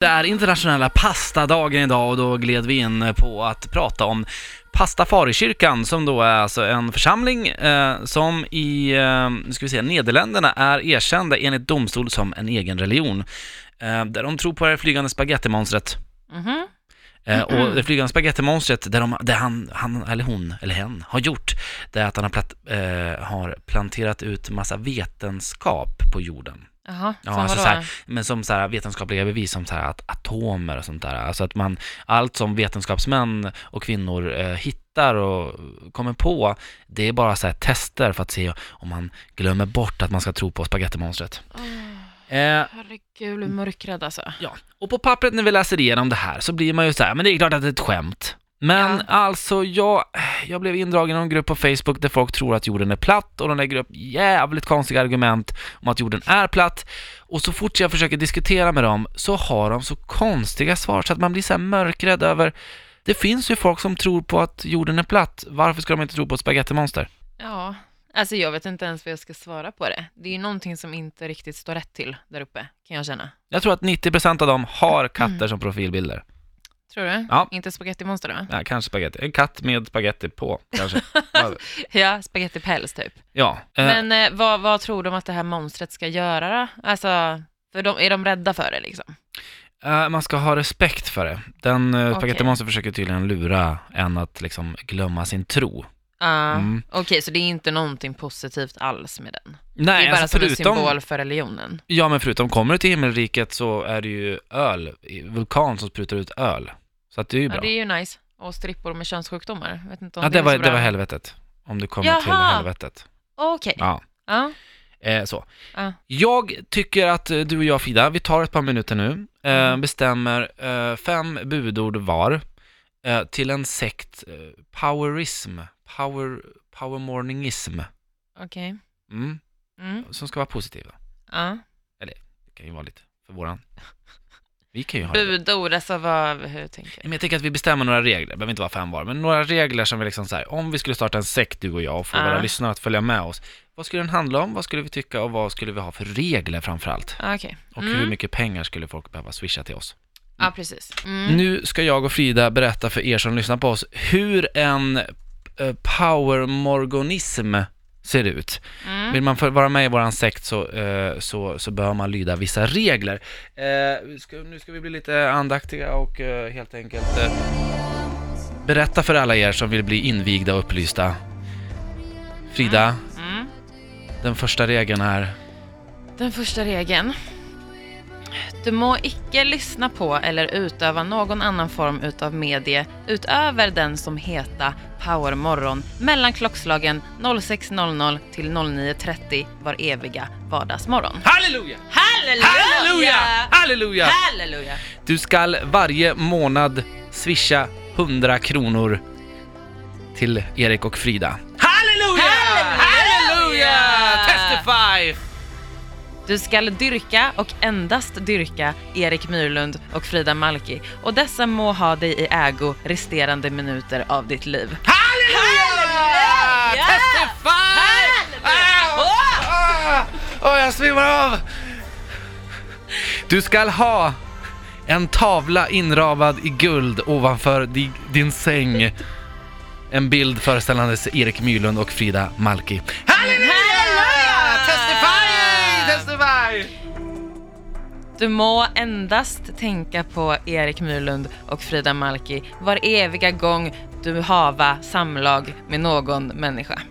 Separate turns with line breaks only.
Det är internationella pastadagen idag och då gled vi in på att prata om Pastafarikyrkan som då är alltså en församling eh, som i, eh, nu ska vi se, Nederländerna är erkända enligt domstol som en egen religion. Eh, där de tror på det här flygande spagettimonstret.
Mhm.
Eh, och det flygande spagettimonstret, där, de, där han, han, eller hon, eller hen, har gjort, det är att han har, platt, eh, har planterat ut massa vetenskap på jorden.
Jaha,
Ja,
så
alltså
vadå?
så här, men som så här, vetenskapliga bevis som så här, att atomer och sånt där. Alltså att man, allt som vetenskapsmän och kvinnor eh, hittar och kommer på, det är bara så här tester för att se om man glömmer bort att man ska tro på spagettimonstret.
Åh,
Eh,
herregud, blir mörkrädd alltså.
ja. Och på pappret när vi läser igenom det här så blir man ju så här, men det är klart att det är ett skämt. Men
Ja.
alltså, jag, jag blev indragen i en grupp på Facebook där folk tror att jorden är platt och de lägger upp jävligt konstiga argument om att jorden är platt. Och så fort jag försöker diskutera med dem så har de så konstiga svar så att man blir så här mörkrädd över det finns ju folk som tror på att jorden är platt. Varför ska de inte tro på ett spagettimonster?
Ja, alltså jag vet inte ens vad jag ska svara på det. Det är ju någonting som inte riktigt står rätt till där uppe, kan jag känna.
Jag tror att 90% av dem har katter som profilbilder.
Tror du?
Ja.
Inte spagettimonster då?
Ja, kanske spagetti. En katt med spagetti på, kanske.
Ja, spagettipäls typ.
ja. eh,
Men eh, vad, vad tror de att det här monstret ska göra då? Alltså, för de, är de rädda för det liksom?
Eh, man ska ha respekt för det. Den uh,
Okej.
spagettimonstern försöker tydligen lura en att liksom glömma sin tro.
Ja.
Mm.
Okej, så det är inte någonting positivt alls med den?
Nej,
det är bara
alltså
som en
förutom,
symbol för religionen?
ja, men förutom kommer du till himmelriket så är det ju öl, i- vulkan som sprutar ut öl. Så att det är ju bra. Ja,
Ja, det
det,
är ju nice. Och strippor med könssjukdomar. Jag Vet inte om är
var,
så
det
bra.
var helvetet. Om du kommer till
Jaha.
helvetet.
Okej.
Ja.
Ja.
Eh, så.
Ja.
Jag tycker att eh, du och jag Frida, vi tar ett par minuter nu, eh,
Mm.
bestämmer eh, fem budord var eh, till en sekt, eh, powerism, power, powermorningism.
Okej.
Mm.
Mm.
som ska vara positiva.
Ja.
Det kan ju vara lite för våran. Vi kan ju ha det. Nej,
Budord, alltså vad, hur tänker
Men
du?
jag tänker att vi bestämmer några regler, det behöver inte vara fem var, men några regler som vi liksom så här, om vi skulle starta en sekt du och jag och få
Ja.
våra lyssnare att följa med oss, vad skulle den handla om, vad skulle vi tycka och vad skulle vi ha för regler framför allt?
Ah, Okej.
Och
Mm.
hur mycket pengar skulle folk behöva swisha till oss?
Ja, precis. Mm.
Nu ska jag och Frida berätta för er som lyssnar på oss hur en eh, powermorgonism ser ut.
Mm.
Vill man få vara med i våran sekt så, eh, så, så bör man lyda vissa regler. Eh, vi ska, nu ska vi bli lite andaktiga och eh, helt enkelt eh, berätta för alla er som vill bli invigda och upplysta. Frida,
Mm.
den första regeln är...
Den första regeln. Du må icke lyssna på eller utöva någon annan form utav medie utöver den som heta Power Morgon mellan klockslagen 06.00 till 09.30 var eviga vardagsmorgon.
Halleluja!
Halleluja!
Halleluja! Halleluja!
Halleluja!
Du ska varje månad swisha 100 kronor till Erik och Frida. Halleluja!
Halleluja!
Testify!
Du skall dyrka och endast dyrka Erik Myrlund och Frida Malki och dessa må ha dig i ägo resterande minuter av ditt liv.
Halleluja!
Halleluja!
Testify! Ah! Åh, jag svimmar av! Du skall ha en tavla inramad i guld ovanför di, din säng. En bild föreställandes Erik Mylund och Frida Malki. Halleluja!
Halleluja!
Testify! Testify!
Du må endast tänka på Erik Myrlund och Frida Malki var eviga gång du hava samlag med någon människa.